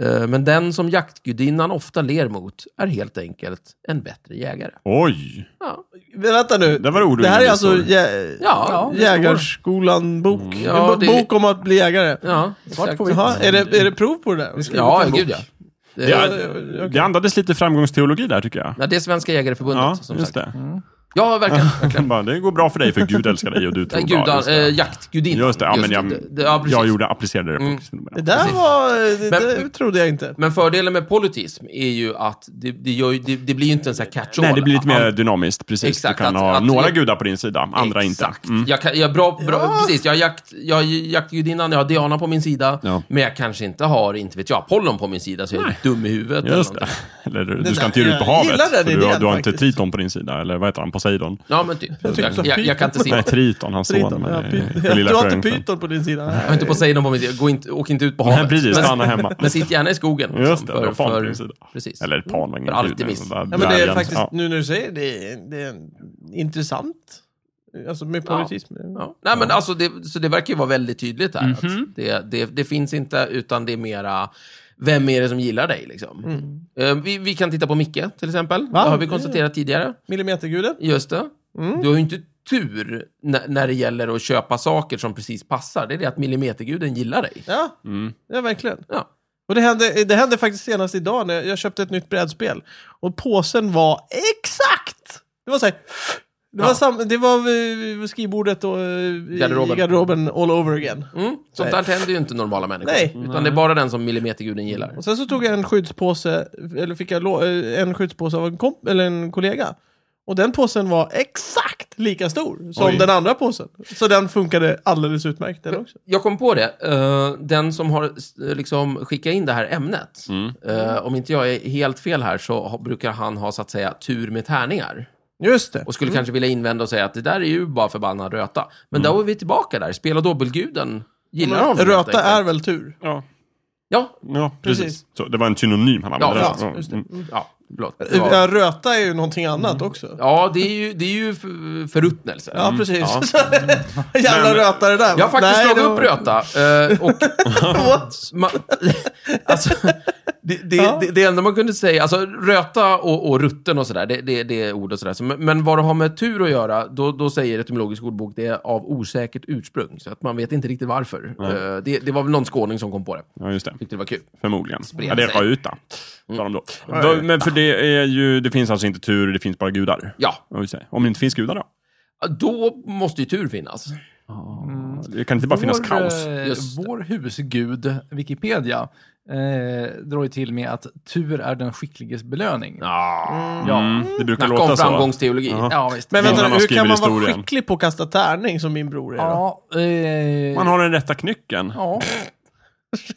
Speaker 1: Eh, men den som jaktgudinnan ofta ler mot är helt enkelt en bättre jägare.
Speaker 2: Oj!
Speaker 1: Ja,
Speaker 3: Men vänta nu.
Speaker 2: Det var ord
Speaker 3: Det här är
Speaker 2: och
Speaker 3: alltså
Speaker 2: visor.
Speaker 3: jä-
Speaker 1: Ja, det
Speaker 3: Jägarskolan-bok.
Speaker 2: Mm.
Speaker 1: Ja,
Speaker 3: en
Speaker 1: det-
Speaker 3: bo- bok om att bli jägare.
Speaker 1: ja
Speaker 4: Svart
Speaker 1: exakt.
Speaker 4: på vitt.
Speaker 3: Jaha, är, det, är det prov på det där?
Speaker 1: Ja, gud ja. Det
Speaker 2: Det,
Speaker 1: är,
Speaker 2: är- det andades lite framgångsteologi där, tycker jag.
Speaker 1: ja, det är Svenska Jägareförbundet,
Speaker 2: Ja,
Speaker 1: som
Speaker 2: just
Speaker 1: sagt. Mm.
Speaker 2: det.
Speaker 1: Ja, verkligen. verkligen.
Speaker 2: Bara, det går bra för dig, för Gud älskar dig och du tror
Speaker 1: Nej,
Speaker 2: bra. Just
Speaker 1: Gudan, eh,
Speaker 2: det.
Speaker 1: jaktgudinnan.
Speaker 2: Just det, ja, men jag,
Speaker 1: det, det, ja, precis.
Speaker 2: jag gjorde, applicerade det på
Speaker 1: Mm.
Speaker 3: Det
Speaker 2: kristendomen.
Speaker 3: där
Speaker 1: Precis.
Speaker 3: var... Det, det
Speaker 1: Men-
Speaker 3: trodde jag inte.
Speaker 1: Men fördelen med politism är ju att det, det, gör, ju- det, det blir ju inte en sån här catch-all.
Speaker 2: Nej, det blir lite mer
Speaker 1: Att-
Speaker 2: dynamiskt. Precis.
Speaker 1: Exakt,
Speaker 2: du kan
Speaker 1: att-
Speaker 2: ha
Speaker 1: att-
Speaker 2: några
Speaker 1: jag-
Speaker 2: gudar på din sida, andra
Speaker 1: Exakt.
Speaker 2: inte. Mm.
Speaker 1: Jag, kan, jag, bra, bra, Precis, jag har jakt, jag har jaktgudinnan, jag har Diana på min sida,
Speaker 2: Ja.
Speaker 1: men jag kanske inte har, inte vet jag, Apollon på min sida, så jag är dum i huvudet. eller
Speaker 2: Just det.
Speaker 1: någonting.
Speaker 2: Eller, du ska
Speaker 3: där-
Speaker 2: inte ge dig ut på
Speaker 3: jag
Speaker 2: havet.
Speaker 3: gillar den
Speaker 2: för du, har-
Speaker 3: idén
Speaker 2: du har inte
Speaker 3: faktiskt.
Speaker 2: Triton på din sida, eller vad heter han? Poseidon?
Speaker 1: Ja, men typ. Jag,
Speaker 3: tyckte
Speaker 1: jag, jag, kan inte simma.
Speaker 2: Nej, Triton, hans son.
Speaker 3: Python,
Speaker 2: men
Speaker 3: ja,
Speaker 2: det är-
Speaker 3: python.
Speaker 2: det är lilla
Speaker 3: Du har inte
Speaker 2: fröken.
Speaker 3: pyton på din sida?
Speaker 1: Jag har inte Poseidon på min sida, Gå inte, åk inte ut på havet.
Speaker 2: Nej, precis.
Speaker 1: men,
Speaker 2: Stanna hemma.
Speaker 1: men sitt gärna i skogen. liksom,
Speaker 2: Just det, det var fan på din sida.
Speaker 1: Precis.
Speaker 2: Eller pan var ingen
Speaker 1: För
Speaker 2: gud,
Speaker 1: Artemis.
Speaker 2: men
Speaker 3: Ja, men det är
Speaker 2: dvärgen.
Speaker 3: faktiskt,
Speaker 2: Ja.
Speaker 3: nu när du säger det, det är, det är en, intressant. Alltså med
Speaker 1: Ja.
Speaker 3: politism.
Speaker 1: Ja. Nej, men alltså det, så det verkar ju vara väldigt tydligt här.
Speaker 3: Mhm.
Speaker 1: Att det, det, det finns inte, utan det är mera, vem är det som gillar dig? Liksom. Eh, Vi, vi kan titta på Micke, till exempel.
Speaker 3: Mm. Va? Mm.
Speaker 1: Det har vi konstaterat tidigare.
Speaker 3: Millimeterguden?
Speaker 1: Just det. Du har ju inte tur när, när det gäller att köpa saker som precis passar. Det är det att millimeterguden gillar dig.
Speaker 3: Ja,
Speaker 2: Mm.
Speaker 3: ja verkligen.
Speaker 1: Ja.
Speaker 3: Och det hände, det hände faktiskt senast idag när jag köpte ett nytt brädspel. Och påsen var exakt! Det var så här, det, var
Speaker 1: Ja.
Speaker 3: sam, det var eh, skrivbordet och eh, i
Speaker 1: Garderoben.
Speaker 3: garderoben all over again.
Speaker 1: Mm. Sånt där händer ju inte normala människor.
Speaker 3: Nej.
Speaker 1: Utan det är bara den som millimeterguden gillar.
Speaker 3: Och sen så tog jag en skyddspåse, eller fick jag lå- eh, en skyddspåse av en, komp- eller en kollega. Och den påsen var exakt lika stor som
Speaker 2: Oj.
Speaker 3: den andra påsen. Så den funkade alldeles utmärkt den också.
Speaker 1: Jag kom på det. Eh, den som har eh, liksom skickat in det här ämnet,
Speaker 3: Mm.
Speaker 1: eh, om inte jag är helt fel här, så ha, brukar han ha så att säga tur med tärningar.
Speaker 3: Just det.
Speaker 1: Och skulle kanske vilja invända och säga att det där är ju bara förbannad röta. Men
Speaker 3: Mm.
Speaker 1: där var vi tillbaka där. Spela dubbelguden gillar honom. helt
Speaker 3: Röta
Speaker 1: enkelt.
Speaker 3: är väl tur?
Speaker 2: Ja,
Speaker 1: Ja,
Speaker 2: ja, precis.
Speaker 3: Precis.
Speaker 2: Så, det var en synonym han använde.
Speaker 1: Ja,
Speaker 2: där.
Speaker 3: ja, just det.
Speaker 2: Mm.
Speaker 1: ja förlåt. Det var-
Speaker 3: Ja. Röta är ju någonting annat också.
Speaker 1: Ja, det är ju, det är ju f- förruttnelse.
Speaker 3: Ja, precis.
Speaker 1: Ja.
Speaker 3: Jävla
Speaker 2: Men-
Speaker 3: rötare där.
Speaker 1: Jag har faktiskt
Speaker 3: Nej,
Speaker 1: slagit
Speaker 3: det
Speaker 1: upp
Speaker 3: var-
Speaker 1: Röta. eh, och, man, alltså, det, det,
Speaker 3: Ja.
Speaker 1: det, det enda man kunde säga, alltså Röta och, och rutten och sådär, det, det, det är ord och sådär. Så, men- men vad det har med tur att göra, då, då säger etymologisk ordbok det är av osäkert ursprung. Så att man vet inte riktigt varför. Eh, det, det var väl någon skåning som kom på det.
Speaker 2: Ja, just det.
Speaker 1: Tyckte det var kul.
Speaker 2: Förmodligen.
Speaker 1: Mm. Spred
Speaker 2: Ja, det är
Speaker 1: sig.
Speaker 2: Rauta. sa de då. Va- Men för det är ju, det finns alltså inte tur, det finns bara gudar.
Speaker 1: Ja,
Speaker 2: Ja, just det. Om det inte finns gudar då?
Speaker 1: då måste ju tur finnas.
Speaker 2: Mm. Det kan inte bara finnas
Speaker 4: vår,
Speaker 2: kaos?
Speaker 4: eh,
Speaker 1: Just det.
Speaker 4: Vår husgud, Wikipedia, eh, drar ju till med att tur är den skickliges belöning.
Speaker 2: Ja, Mm, det brukar
Speaker 1: Snacka om
Speaker 2: låta så.
Speaker 1: framgångsteologi.
Speaker 2: Ja.
Speaker 4: Ja, visst.
Speaker 3: Men
Speaker 2: Innan
Speaker 3: vänta,
Speaker 2: man
Speaker 3: hur
Speaker 2: skriver
Speaker 3: kan man vara
Speaker 2: historien.
Speaker 3: skicklig på att kasta tärning som min bror är? då?
Speaker 4: ja, eh,
Speaker 2: Man har den rätta knycken.
Speaker 4: ja.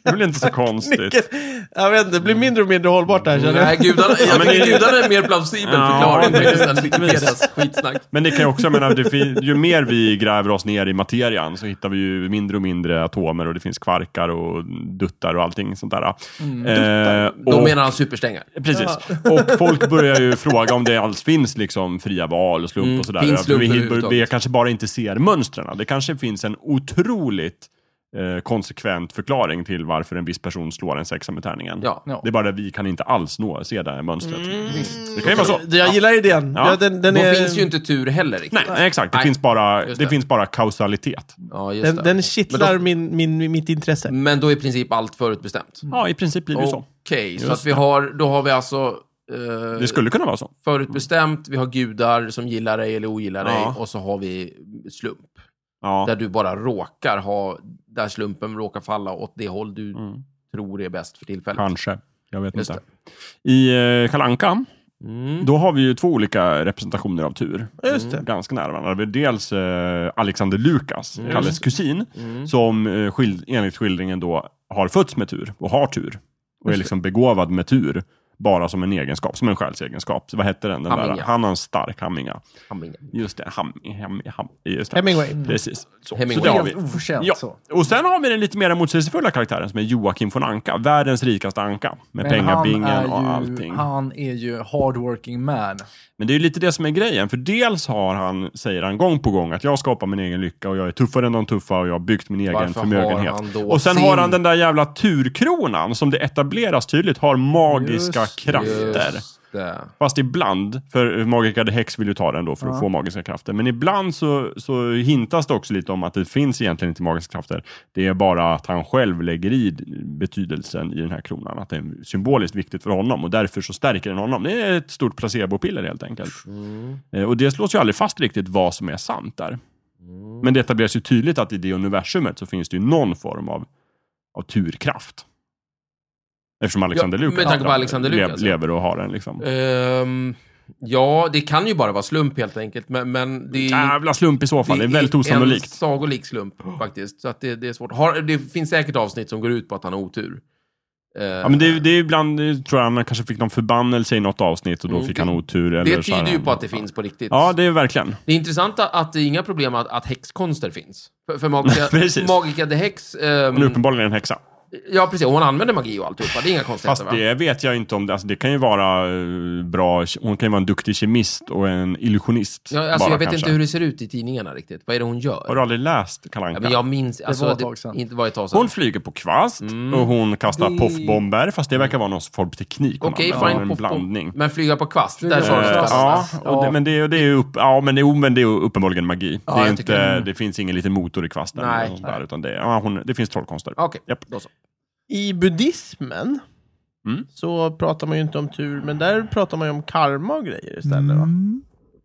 Speaker 2: Det är väl inte så konstigt?
Speaker 3: Vilket- Jag vet inte, det blir mindre och mindre hållbart det här känner jag.
Speaker 1: Mm. Nej, gudarna, jag
Speaker 2: men
Speaker 1: tycker
Speaker 2: det-
Speaker 1: gudarna är en mer plausibel
Speaker 2: Ja,
Speaker 1: förklaring
Speaker 2: det-
Speaker 1: faktiskt än Wikipedias skitsnack.
Speaker 2: Men det kan ju också, jag menar, det fin- ju mer vi gräver oss ner i materian så hittar vi ju mindre och mindre atomer och det finns kvarkar och duttar och allting sånt där.
Speaker 1: Mm.
Speaker 2: Eh,
Speaker 1: Då
Speaker 2: och-
Speaker 1: menar han superstänger.
Speaker 2: Precis. Och folk börjar ju fråga om det alls finns liksom fria val och slump
Speaker 1: Mm,
Speaker 2: och sådär.
Speaker 1: finns slump
Speaker 2: vi, vi,
Speaker 1: överhuvudtaget?
Speaker 2: vi kanske bara inte ser mönstren. Det kanske finns en otroligt eh, konsekvent förklaring till varför en viss person slår en sexa med tärningen.
Speaker 1: Ja. Mm.
Speaker 4: Ja.
Speaker 2: Det är bara det vi kan inte alls nå, se det här mönstret.
Speaker 4: Visst.
Speaker 2: Det kan ju vara så.
Speaker 3: Det- Jag gillar idén.
Speaker 2: Ja.
Speaker 3: Ja. den, den,
Speaker 1: Då
Speaker 3: är,
Speaker 1: alltså. finns ju inte tur heller riktigt.
Speaker 2: Nej, nej, exakt. Det,
Speaker 1: Nej.
Speaker 2: Finns bara, det.
Speaker 1: Just det.
Speaker 2: finns bara kausalitet.
Speaker 1: Ja, just
Speaker 3: den,
Speaker 1: det.
Speaker 3: den kittlar
Speaker 1: Men då- Mm.
Speaker 3: min, min, mitt intresse.
Speaker 1: Men då är i princip allt förutbestämt.
Speaker 2: Ja, i princip blir Mm. det ju så.
Speaker 1: Okej, så
Speaker 2: Just
Speaker 1: att vi har, då har vi alltså eh,
Speaker 2: Det skulle kunna vara så.
Speaker 1: förutbestämt, vi har gudar som gillar dig eller ogillar dig
Speaker 2: Ja.
Speaker 1: och så har vi slump.
Speaker 2: Ja.
Speaker 1: Där du bara råkar ha, där slumpen råkar falla åt det håll du
Speaker 2: Mm.
Speaker 1: tror är bäst för tillfället.
Speaker 2: Kanske. Jag vet
Speaker 1: Just
Speaker 2: inte. I eh, Kalle Anka,
Speaker 1: Mm.
Speaker 2: då har vi ju två olika representationer av tur. Mm.
Speaker 3: Ja, Just det.
Speaker 2: Ganska nära varandra. Vi har dels eh, Alexander Lukas,
Speaker 1: Mm.
Speaker 2: Kalles kusin,
Speaker 1: Mm.
Speaker 2: som eh, skild, enligt skildringen då har fötts med tur och har tur. Och är
Speaker 1: det.
Speaker 2: liksom begåvad med tur. Bara som en egenskap, som en själsegenskap. Så vad hette den? den där?
Speaker 1: Hamminga.
Speaker 2: Han har en stark hamminga.
Speaker 1: Hamminge.
Speaker 2: Just det, ham, ham, ham, just det.
Speaker 3: Hemingway.
Speaker 2: Precis. Så, så
Speaker 1: Hemingway.
Speaker 2: det har vi.
Speaker 4: Mm. Helt oförtjänt
Speaker 2: Ja.
Speaker 4: så.
Speaker 2: Och sen har vi den lite mer motsägelsefulla karaktären som är Joakim von Anka. Världens rikaste anka. Med
Speaker 4: Men han är,
Speaker 2: pengabingen
Speaker 4: ju,
Speaker 2: och allting.
Speaker 4: han är ju hardworking man.
Speaker 3: Eh,
Speaker 2: Men det är ju lite det som är grejen. För dels har han, säger han gång på gång att jag skapar min egen lycka och jag är tuffare än de tuffa och jag har byggt min egen
Speaker 1: Varför
Speaker 2: förmögenhet.
Speaker 1: har han då
Speaker 2: och sen
Speaker 1: sin-
Speaker 2: har han den där jävla turkronan som det etableras tydligt har magiska
Speaker 4: Just det.
Speaker 2: krafter.
Speaker 1: Just det.
Speaker 2: Fast ibland, för Magiker the Hex vill ju ta den då för att få magiska krafter. Men ibland så, så hintas det också lite om att det finns egentligen inte magiska krafter. Det är bara att han själv lägger i betydelsen i den här kronan. Att det är symboliskt viktigt för honom och därför så stärker den honom. Det är ett stort placebopiller helt enkelt.
Speaker 1: Mm.
Speaker 2: Eh, Och det slås ju aldrig fast riktigt vad som är sant där.
Speaker 1: Mm.
Speaker 2: Men det etableras ju tydligt att i det universumet så finns det ju någon form av, av turkraft. Eftersom Alexander
Speaker 1: Ja,
Speaker 2: Lukas
Speaker 1: med tanke på
Speaker 2: då
Speaker 1: Alexander alltså.
Speaker 2: le-
Speaker 1: Lukas, ja.
Speaker 2: lever och har den. Liksom.
Speaker 1: Ehm, ja, det kan ju bara vara slump helt enkelt, men, men det är...
Speaker 2: Jävla slump i så fall. Det är väldigt
Speaker 1: en
Speaker 2: osannolikt.
Speaker 1: sagolik slump faktiskt. Så att det, det är svårt. Har, det finns säkert avsnitt som går ut på att han har otur. Eh,
Speaker 2: Ja, men det, är- det är ibland, eh, tror jag, han kanske fick någon förbannelse i något avsnitt och då
Speaker 1: Mm,
Speaker 2: fick
Speaker 1: det-
Speaker 2: han otur. Eller
Speaker 1: det
Speaker 2: så här,
Speaker 1: tyder ju
Speaker 2: han-
Speaker 1: på att det finns på riktigt.
Speaker 2: Ja, det är verkligen.
Speaker 1: Det är intressant att- att det är inga problem att, att häxkonster finns. För, för Magica,
Speaker 2: Precis.
Speaker 1: Magica the Hex... ehm,
Speaker 2: Hon är uppenbarligen en häxa.
Speaker 1: ja, precis. Och hon använder magi och alltihopa. Det är inga konstigheter,
Speaker 2: Fast
Speaker 1: va?
Speaker 2: det vet jag inte om det. Alltså, det kan ju vara eh, bra. Hon kan ju vara en duktig kemist och en illusionist.
Speaker 1: Ja, alltså,
Speaker 2: bara,
Speaker 1: jag vet
Speaker 2: kanske.
Speaker 1: inte hur det ser ut i tidningarna riktigt. Vad är det hon gör?
Speaker 2: Har du aldrig läst Kalle Anka?
Speaker 1: ja, men jag minns... Alltså,
Speaker 4: var ett tag sedan.
Speaker 1: Inte, var ett tag sedan.
Speaker 2: Hon flyger på kvast
Speaker 1: Mm.
Speaker 2: och hon kastar
Speaker 4: Det-
Speaker 2: poffbomber. Fast det verkar vara någon form av teknik. hon
Speaker 1: Okej,
Speaker 2: använder,
Speaker 1: fine.
Speaker 2: En
Speaker 1: poff, poff.
Speaker 2: blandning.
Speaker 1: Men flyga på kvast, där
Speaker 4: Flyga på
Speaker 1: sa du
Speaker 4: kvast.
Speaker 2: Eh,
Speaker 1: det.
Speaker 2: Ja, och det,
Speaker 4: Ja.
Speaker 2: men det, är- det är ju upp, ja, men det, är, o- men det är ju uppenbarligen magi.
Speaker 1: Ja,
Speaker 2: det, är
Speaker 1: jag
Speaker 2: inte,
Speaker 1: tycker-
Speaker 2: det finns ingen liten motor i kvasten.
Speaker 1: Nej.
Speaker 2: eller något sånt där, utan det, är- ja, hon, det finns trollkonster.
Speaker 1: Okej,
Speaker 2: Japp.
Speaker 1: då så.
Speaker 3: I buddhismen
Speaker 2: Mm.
Speaker 3: så pratar man ju inte om tur, men där pratar man ju om karma och grejer istället. Va?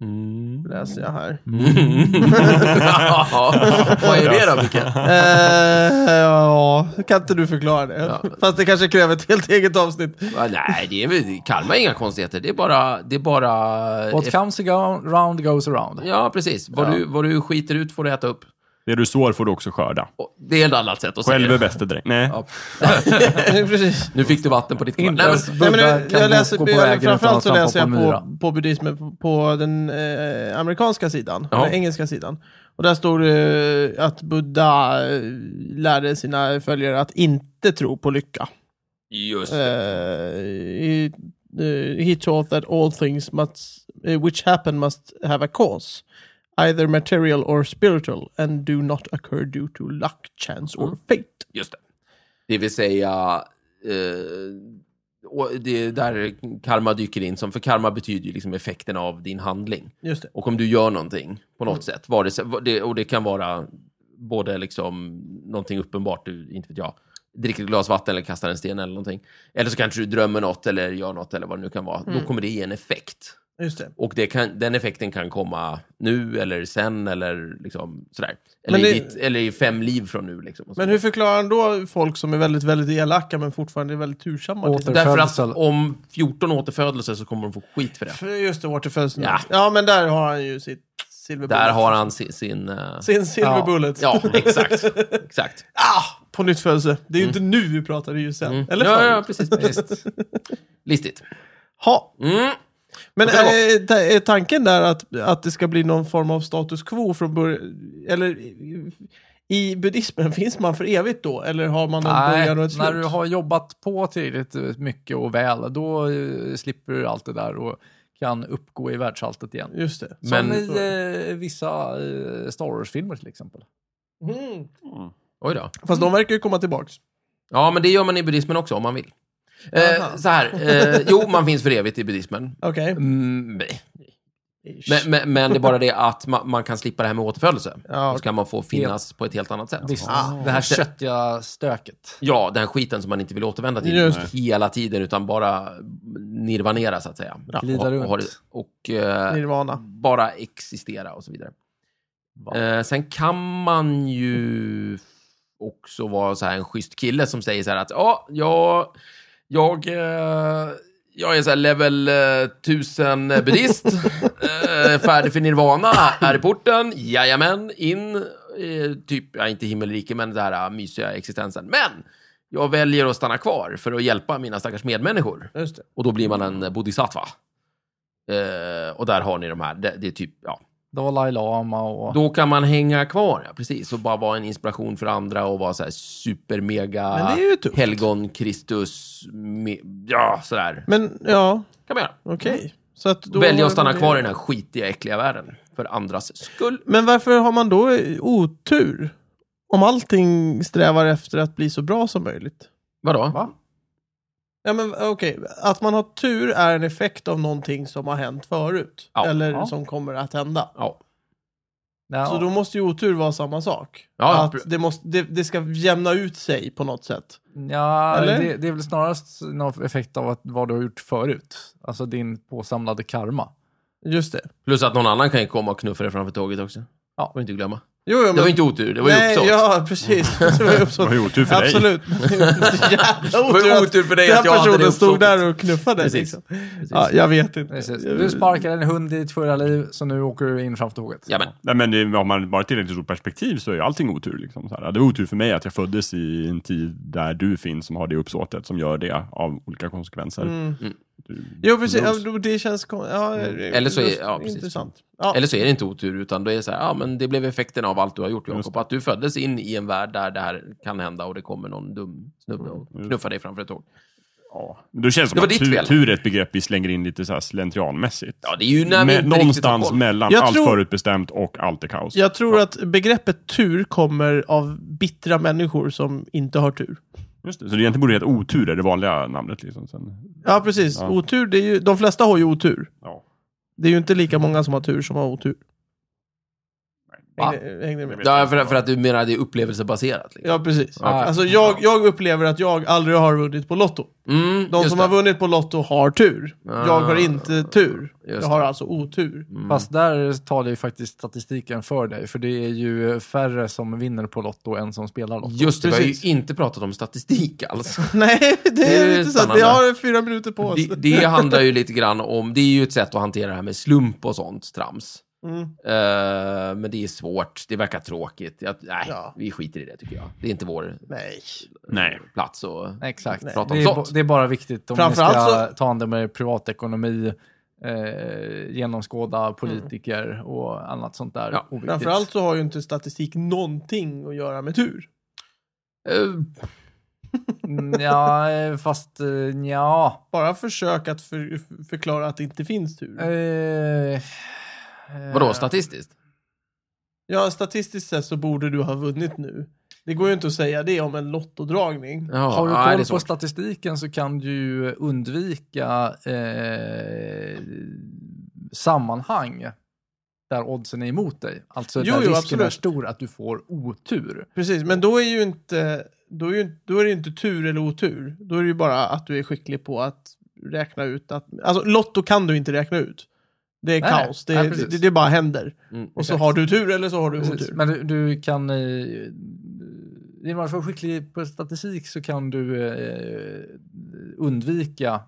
Speaker 1: Mm.
Speaker 3: Läser jag här.
Speaker 1: Ja, Vad är det då, Micke?
Speaker 3: Eh, ja, kan inte du förklara det?
Speaker 1: Ja.
Speaker 3: Fast det kanske kräver ett helt eget avsnitt.
Speaker 1: Ja, Nej, det är väl, karma är inga konstigheter. Det är bara... Det är bara
Speaker 4: What comes around goes around.
Speaker 1: ja, precis. Vad, du, vad du skiter ut får du äta upp.
Speaker 2: Det du sår får du också skörda.
Speaker 1: Och Det är ett annat sätt att säga
Speaker 2: Själv är
Speaker 1: det.
Speaker 2: bäste dräng. Nej.
Speaker 3: Precis.
Speaker 1: Nu fick du vatten på ditt kvar.
Speaker 4: Inte
Speaker 1: Nej, men,
Speaker 3: Nej, men
Speaker 4: ens Buddha
Speaker 3: jag,
Speaker 4: kan
Speaker 3: jag läser,
Speaker 4: gå på
Speaker 3: jag,
Speaker 4: vägen utan
Speaker 3: framförallt
Speaker 4: att
Speaker 3: så läser jag
Speaker 4: trampa på en myra.
Speaker 3: på, på buddhismen på, på den eh, amerikanska sidan,
Speaker 1: Ja.
Speaker 3: eller engelska sidan. Och där står det eh, att Buddha eh, lärde sina följare att inte tro på lycka.
Speaker 1: just
Speaker 3: Eh,
Speaker 1: det.
Speaker 3: he, eh, he taught that all things must, eh, which happen must have a cause, either material or spiritual, and do not occur due to luck, chance or fate.
Speaker 1: Just det. Det vill säga, eh, och det är där karma dyker in. Som, för karma betyder ju liksom effekten av din handling.
Speaker 3: Just det.
Speaker 1: Och om du gör någonting på
Speaker 3: Mm.
Speaker 1: något sätt, vare sig, vad- det, och det kan vara både liksom någonting uppenbart, du, inte vet jag, dricker ett glas vatten eller kastar en sten eller någonting. Eller så kanske du drömmer något eller gör något eller vad det nu kan vara.
Speaker 3: Mm.
Speaker 1: Då kommer det ge en effekt.
Speaker 3: Just det.
Speaker 1: Och det kan, den effekten kan komma nu eller sen eller liksom sådär. Eller,
Speaker 3: Men
Speaker 1: i,
Speaker 3: det-
Speaker 1: ditt, eller i fem liv från nu. Liksom, och så.
Speaker 3: Men hur förklarar han då folk som är väldigt, väldigt elaka men fortfarande är väldigt tursamma?
Speaker 4: Åter-
Speaker 3: Liksom?
Speaker 1: Därför att
Speaker 4: Födelse-
Speaker 1: om 14 återfödelser så kommer de få skit för det.
Speaker 3: För Just det, återfödelsen.
Speaker 1: Ja.
Speaker 3: Ja. ja, men där har han ju sitt silverbullet.
Speaker 1: Där har han sin... sin eh,
Speaker 3: Sin silverbullet.
Speaker 1: ja, exakt. exakt.
Speaker 3: Ah, på nytt födelse. Det är ju inte nu vi pratar, det är ju sen. Eller
Speaker 1: Mm. ja,
Speaker 3: förr.
Speaker 1: ja, precis. precis. Listigt.
Speaker 3: Ha.
Speaker 1: Mm.
Speaker 3: Men
Speaker 1: Och där
Speaker 3: är, ta- är tanken där att, att det ska bli någon form av status quo från början? Eller i- i buddhismen, finns man för evigt då? Eller har man en
Speaker 4: Nej,
Speaker 3: början och ett slut?
Speaker 4: när du har jobbat på tillräckligt eh, mycket och väl, då eh, slipper du allt det där och kan uppgå i världsalltet igen.
Speaker 3: Just det.
Speaker 1: Men-
Speaker 4: Som i eh, vissa eh, Star Wars-filmer till exempel.
Speaker 3: Mm.
Speaker 1: Oj då.
Speaker 3: Fast de verkar ju komma tillbaks.
Speaker 1: Ja, men det gör man i buddhismen också om man vill. Eh,
Speaker 3: Aha.
Speaker 1: så här, eh, jo, man finns för evigt i buddhismen.
Speaker 3: Okej.
Speaker 1: Mm, nej. men, men, men det är bara det att man, man kan slippa det här med återfödelse.
Speaker 3: Ja,
Speaker 1: Då ska man få finnas på ett helt annat sätt.
Speaker 4: Visst.
Speaker 3: Ah.
Speaker 4: Det här köttiga stöket.
Speaker 1: Ja, den skiten som man inte vill återvända till
Speaker 3: Just.
Speaker 1: hela tiden, utan bara nirvanera så att säga.
Speaker 3: Ja.
Speaker 4: Glida runt.
Speaker 1: Och, och eh,
Speaker 3: Nirvana.
Speaker 1: bara existera och så vidare.
Speaker 4: Va?
Speaker 1: Eh, sen kan man ju också vara så här en schysst kille som säger så här att ja, jag, jag, eh, jag är så här level eh, 1000 buddhist, eh, färdig för nirvana, här i porten, jajamän, in, eh, typ, ja, inte himmelrike, men den här eh, mysiga existensen. Men jag väljer att stanna kvar för att hjälpa mina stackars medmänniskor.
Speaker 3: Just det.
Speaker 1: Och då blir man en bodhisattva. Eh, och där har ni de här, det, det är typ, ja.
Speaker 4: Dalai Lama och...
Speaker 1: Då kan man hänga kvar, ja, precis. Och bara vara en inspiration för andra och vara så här supermega
Speaker 3: Men det är ju tufft.
Speaker 1: helgon, Kristus, me- ja, sådär.
Speaker 3: Men ja,
Speaker 1: kan man göra.
Speaker 3: okej. Så att då
Speaker 1: Välja
Speaker 3: har
Speaker 1: Mm. att stanna
Speaker 3: det-
Speaker 1: kvar i den här skitiga, äckliga världen. För andras skull.
Speaker 3: Men varför har man då otur? Om allting strävar efter att bli så bra som möjligt.
Speaker 1: Vadå?
Speaker 4: Va?
Speaker 3: Ja, men okej. Att man har tur är en effekt av någonting som har hänt förut.
Speaker 1: Ja.
Speaker 3: eller
Speaker 4: Ja.
Speaker 3: som kommer att hända.
Speaker 1: Ja.
Speaker 4: Ja.
Speaker 3: Så då måste ju otur vara samma sak.
Speaker 1: Ja, ja.
Speaker 3: att det, måste, det, det ska jämna ut sig på något sätt.
Speaker 4: Ja,
Speaker 3: Eller?
Speaker 4: det, det är väl snarast någon effekt av att, vad du har gjort förut. Alltså din påsamlade karma.
Speaker 3: Just det.
Speaker 1: Plus att någon annan kan ju komma och knuffa dig framför tåget också. Ja, får inte glömma.
Speaker 3: Jo, jo, men...
Speaker 1: Det var ju inte otur, det var ju
Speaker 3: Nej,
Speaker 1: uppsåt.
Speaker 3: ja, precis. Det var ju uppsåt.
Speaker 2: Vad har gjort du för dig?
Speaker 3: Absolut. Jävla
Speaker 1: Det var ju
Speaker 3: otur att
Speaker 1: otur för dig
Speaker 3: den
Speaker 1: att jag
Speaker 3: här
Speaker 1: hade det
Speaker 3: personen stod
Speaker 1: uppsåtet.
Speaker 3: där och knuffade.
Speaker 1: Precis.
Speaker 3: Liksom. Ja, jag vet inte.
Speaker 4: Precis. Du sparkade en hund i ditt förra liv, så nu åker du in framför tåget.
Speaker 1: Ja, men
Speaker 2: Nej, men det, har man bara tillräckligt stort perspektiv så är ju allting otur. Liksom, så här. Det var otur för mig att jag föddes i en tid där du finns som har det uppsåtet som gör det av olika konsekvenser.
Speaker 1: Mm.
Speaker 3: Jo, precis. Ja, då- det känns kon- ja,
Speaker 1: Eller så är-
Speaker 3: just-
Speaker 1: ja, precis.
Speaker 3: intressant. Ja.
Speaker 1: Eller så är det inte otur, utan det är så här, ja men det blev effekten av allt du har gjort Jakob. Att du föddes in i en värld där det här kan hända och det kommer någon dum snubbe och
Speaker 3: Mm.
Speaker 1: knuffar dig framför ett tåg.
Speaker 2: Ja. Men Det känns som
Speaker 1: Det var
Speaker 2: att
Speaker 1: ditt
Speaker 2: tur,
Speaker 1: fel.
Speaker 2: tur är ett begrepp vi slänger in lite så här slentrianmässigt.
Speaker 1: Ja, det är ju när vi
Speaker 2: Men
Speaker 1: inte riktigt har
Speaker 2: någonstans
Speaker 1: koll.
Speaker 2: mellan
Speaker 3: Jag
Speaker 2: allt
Speaker 3: tror-
Speaker 2: förutbestämt och allt är kaos.
Speaker 3: Jag tror att begreppet tur kommer av bittra människor som inte har tur.
Speaker 2: Just det. Så det egentligen borde heta otur, är det vanliga namnet. Liksom. Sen,
Speaker 3: Ja, precis.
Speaker 2: Ja.
Speaker 3: Otur, det är ju, de flesta har ju otur.
Speaker 2: ja.
Speaker 3: Det är ju inte lika många som har tur som har otur.
Speaker 1: Va?
Speaker 3: Hängde, hängde med.
Speaker 1: Ja, för, för att du menar det är upplevelsebaserat. Liksom.
Speaker 3: Ja, precis.
Speaker 4: Ja.
Speaker 3: Alltså, jag, jag upplever att jag aldrig har vunnit på Lotto.
Speaker 1: Mm,
Speaker 3: De
Speaker 1: just
Speaker 3: som
Speaker 1: det.
Speaker 3: har vunnit på Lotto har tur.
Speaker 1: Ah,
Speaker 3: jag har inte tur.
Speaker 1: just Mm.
Speaker 3: Jag har alltså otur.
Speaker 4: Mm. Fast där talar ju faktiskt statistiken för dig, för det är ju färre som vinner på Lotto än som spelar Lotto.
Speaker 1: Just det, vi har
Speaker 3: Precis.
Speaker 1: ju inte pratat om statistik alls.
Speaker 3: Nej, det
Speaker 1: Det är
Speaker 3: är
Speaker 1: ju
Speaker 3: intressant. Vi
Speaker 1: spännande.
Speaker 3: har fyra minuter på oss.
Speaker 1: Det, det handlar ju lite grann om, det är ju ett sätt att hantera det här med slump och sånt trams.
Speaker 3: Mm.
Speaker 1: Eh, men det är svårt, det verkar tråkigt. Jag, nej,
Speaker 3: Ja.
Speaker 1: vi skiter i det tycker jag. Det är inte vår
Speaker 3: Nej.
Speaker 2: Nej.
Speaker 1: plats att
Speaker 4: Exakt.
Speaker 3: Nej.
Speaker 1: prata
Speaker 4: Det
Speaker 1: om
Speaker 4: är, bo-
Speaker 1: sånt.
Speaker 4: det är bara viktigt om ni
Speaker 3: Framförallt
Speaker 4: ska ta an det med privatekonomi, eh, genomskåda politiker och annat sånt där.
Speaker 1: Mm. Ja.
Speaker 4: oviktigt.
Speaker 3: Framförallt så har ju inte statistik någonting att göra med tur.
Speaker 1: Eh,
Speaker 4: Mm, Ja, eh, fast eh, ja.
Speaker 3: Bara försök att för, förklara att det inte finns tur.
Speaker 4: Eh,
Speaker 1: Vadå,
Speaker 4: eh,
Speaker 1: statistiskt?
Speaker 3: Ja, statistiskt sett så borde du ha vunnit nu. Det går ju inte att säga det om en lottodragning.
Speaker 1: Ja,
Speaker 4: eh, Har du
Speaker 1: nej, det är
Speaker 4: koll på
Speaker 1: svårt.
Speaker 4: statistiken så kan du undvika eh, sammanhang där oddsen är emot dig. Alltså
Speaker 3: Jo,
Speaker 4: där
Speaker 3: jo,
Speaker 4: risken är
Speaker 3: absolut.
Speaker 4: stor att du får otur.
Speaker 3: Precis, men då är ju inte... Då är, ju, då är det inte tur eller otur. Då är det ju bara att du är skicklig på att räkna ut att... Alltså, lotto kan du inte räkna ut. Det är
Speaker 4: Nej,
Speaker 3: kaos. Det,
Speaker 4: nej,
Speaker 3: det,
Speaker 4: precis.
Speaker 3: det, bara händer.
Speaker 1: Mm,
Speaker 3: och så
Speaker 4: exakt.
Speaker 3: har du tur eller så har du
Speaker 4: Precis.
Speaker 3: otur.
Speaker 4: Men du, du kan... Eh, genom att vara skicklig på statistik så kan du eh, undvika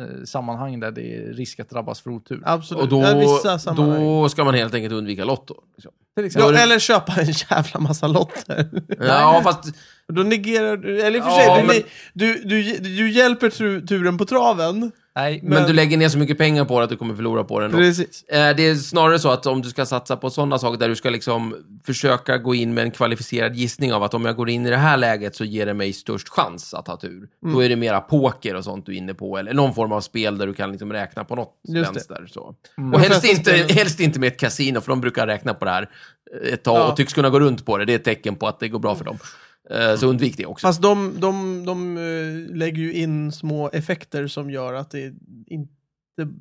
Speaker 4: eh, sammanhang där det är risk att drabbas för otur.
Speaker 3: Absolut.
Speaker 1: Och då,
Speaker 3: ja, vissa sammanhang.
Speaker 1: då ska man helt enkelt undvika Lotto. liksom.
Speaker 4: Till exempel.
Speaker 3: Ja, eller köpa en jävla massa lotter.
Speaker 1: Ja, fast
Speaker 3: Då negerar du, eller i och för
Speaker 1: Ja,
Speaker 3: sig, du,
Speaker 1: men-
Speaker 3: ne- du, du, du hjälper tu- turen på traven.
Speaker 4: Nej,
Speaker 1: Men du lägger ner så mycket pengar på det att du kommer förlora på det ändå.
Speaker 3: Precis.
Speaker 1: Eh, Det är snarare så att om du ska satsa på sådana saker där du ska liksom försöka gå in med en kvalificerad gissning av att om jag går in i det här läget så ger det mig störst chans att ha tur.
Speaker 3: Mm.
Speaker 1: Då är det mera poker och sånt du är inne på, eller någon form av spel där du kan liksom räkna på något
Speaker 3: Just det. Mm.
Speaker 1: vänster. Så. Och helst inte, helst inte med ett kasino, för de brukar räkna på det här eh, ett tag
Speaker 3: Ja.
Speaker 1: och tycks kunna gå runt på det. Det är ett tecken på att det går bra för dem. Eh, Så undvik det också.
Speaker 3: Fast de, de, de eh, lägger ju in små effekter som gör att det inte...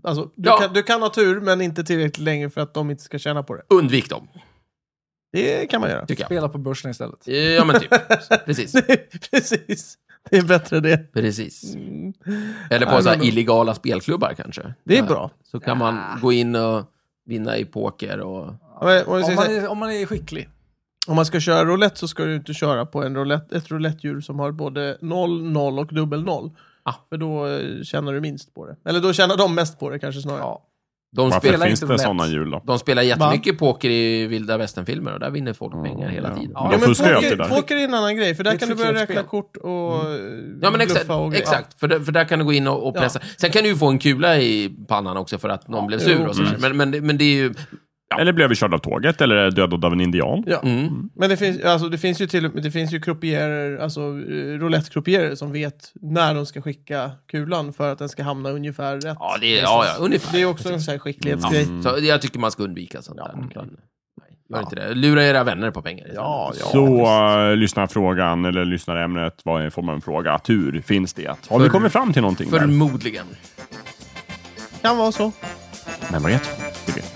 Speaker 3: Alltså, du,
Speaker 1: Ja.
Speaker 3: kan, du kan ha tur, men inte tillräckligt länge för att de inte ska tjäna på det.
Speaker 1: Undvik dem,
Speaker 3: Det kan man göra.
Speaker 1: tycker jag.
Speaker 4: Spela på börsen istället.
Speaker 1: Eh, Ja, men typ. Precis.
Speaker 3: Precis. Det är bättre det.
Speaker 1: Precis.
Speaker 3: Mm.
Speaker 1: Eller
Speaker 3: Ja,
Speaker 1: på så här
Speaker 3: men-
Speaker 1: illegala spelklubbar kanske.
Speaker 3: Det är
Speaker 1: Eh,
Speaker 3: bra.
Speaker 1: Så kan man gå in och vinna i poker och...
Speaker 3: Men Om
Speaker 4: Om
Speaker 3: man,
Speaker 4: man,
Speaker 3: säger,
Speaker 4: är, om man är skicklig.
Speaker 3: om man ska köra roulette så ska du inte köra på en roulette, ett roulettdjur som har både 0, 0 och dubbel 0.
Speaker 1: Ah.
Speaker 3: För då eh, tjänar du minst på det. Eller då tjänar de mest på det kanske snarare.
Speaker 4: Ja.
Speaker 1: De
Speaker 2: Varför
Speaker 1: spelar,
Speaker 2: finns
Speaker 4: inte
Speaker 2: det
Speaker 4: roulette.
Speaker 2: sådana hjul då?
Speaker 1: de spelar jättemycket poker i vilda västern-filmer och där vinner folk pengar hela
Speaker 2: Mm, ja.
Speaker 1: tiden.
Speaker 4: Ja,
Speaker 2: Men de
Speaker 3: Ja, men
Speaker 2: fuskar ju alltid
Speaker 3: poker,
Speaker 2: där.
Speaker 3: poker är en annan grej, för
Speaker 4: Det
Speaker 3: där
Speaker 4: är
Speaker 3: kan
Speaker 4: ett
Speaker 3: du börja
Speaker 4: skicklighetsspel.
Speaker 3: räkna kort och
Speaker 1: Ja, men
Speaker 3: eh,
Speaker 1: exakt.
Speaker 3: bluffa och grejer.
Speaker 1: exakt. För, där, för där kan du gå in och, och pressa. Sen kan du ju få en kula i pannan också för att någon blev sur.
Speaker 3: jo,
Speaker 1: Och så. Men, men, det- men det är ju...
Speaker 2: Eller blev vi körda av tåget eller är dödad av en indian?
Speaker 3: Ja.
Speaker 1: Mm.
Speaker 3: Men det finns, alltså, det finns ju till och med- det finns ju croupier, alltså eh, roulettekroupierer som vet när de ska skicka kulan för att den ska hamna ungefär rätt.
Speaker 1: Ja, det är, ja, ja, ungefär.
Speaker 3: Det är också en sån här skicklighetsgrej.
Speaker 2: Mm.
Speaker 1: Så jag tycker man ska undvika sånt där. Men, nej, gör
Speaker 3: Ja.
Speaker 1: inte det. Lura era vänner på pengar istället.
Speaker 3: Ja, ja.
Speaker 2: Så äh, lyssnarfrågan, eller lyssnarämnet, vad är- får man en fråga? Tur, finns det? Har vi
Speaker 1: För-
Speaker 2: kommit fram till någonting? där?
Speaker 1: Förmodligen.
Speaker 3: Kan vara så.
Speaker 2: Men vad vet vi? Det vet vi.